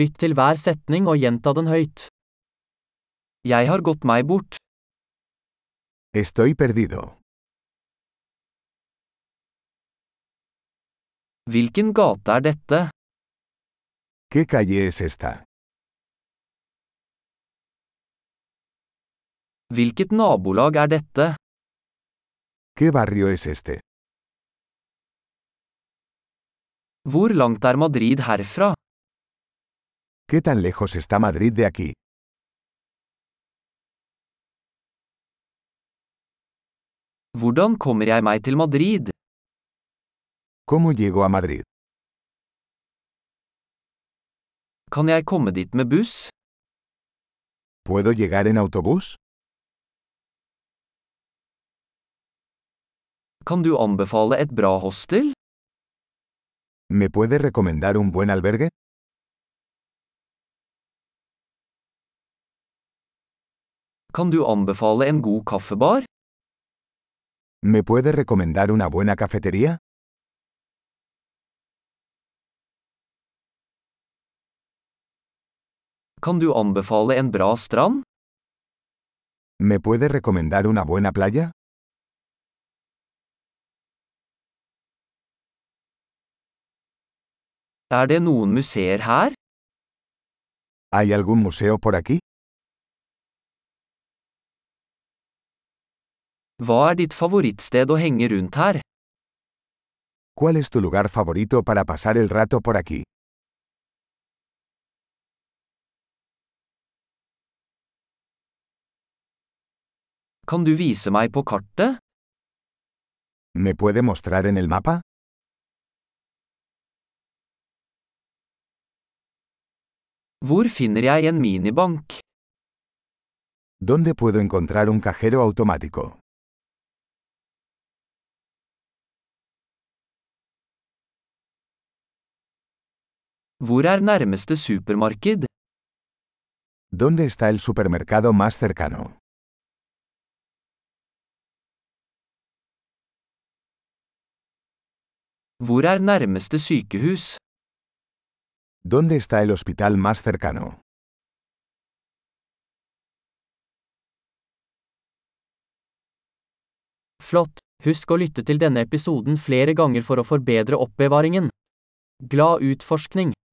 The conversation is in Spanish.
Lytt til hver setning og gjenta den høyt. Jeg har gått meg bort. Estoy perdido. Hvilken gate er dette? ¿Qué calle es esta? Hvilket nabolag er dette? ¿Qué barrio es este? Hvor langt er Madrid herfra? ¿Qué tan lejos está Madrid de aquí? Hvordan kommer jeg meg til Madrid? ¿Cómo llego a Madrid? Kan jeg komme dit med buss? ¿Puedo llegar en autobús? Kan du anbefale et bra hostel? ¿Me puede recomendar un buen albergue? Kan du anbefale en god kaffebar? ¿Me puede recomendar una buena cafetería? Kan du anbefale en bra strand? ¿Me puede recomendar una buena playa? Er det noen museer her? ¿Hay algún museo por aquí? Hva er ditt favorittsted å henge rundt her? ¿Cuál es tu lugar favorito para pasar el rato por aquí? Kan du vise meg på kartet? ¿Me puede mostrar en el mapa? Hvor finner jeg en minibank? ¿Dónde puedo encontrar un cajero automático? Hvor er nærmeste supermarked? ¿Dónde está el supermercado más cercano? Hvor er nærmeste sykehus? ¿Dónde está el hospital más cercano? Flott! Husk å lytte til denne episoden flere ganger for å forbedre oppbevaringen. Glad utforskning!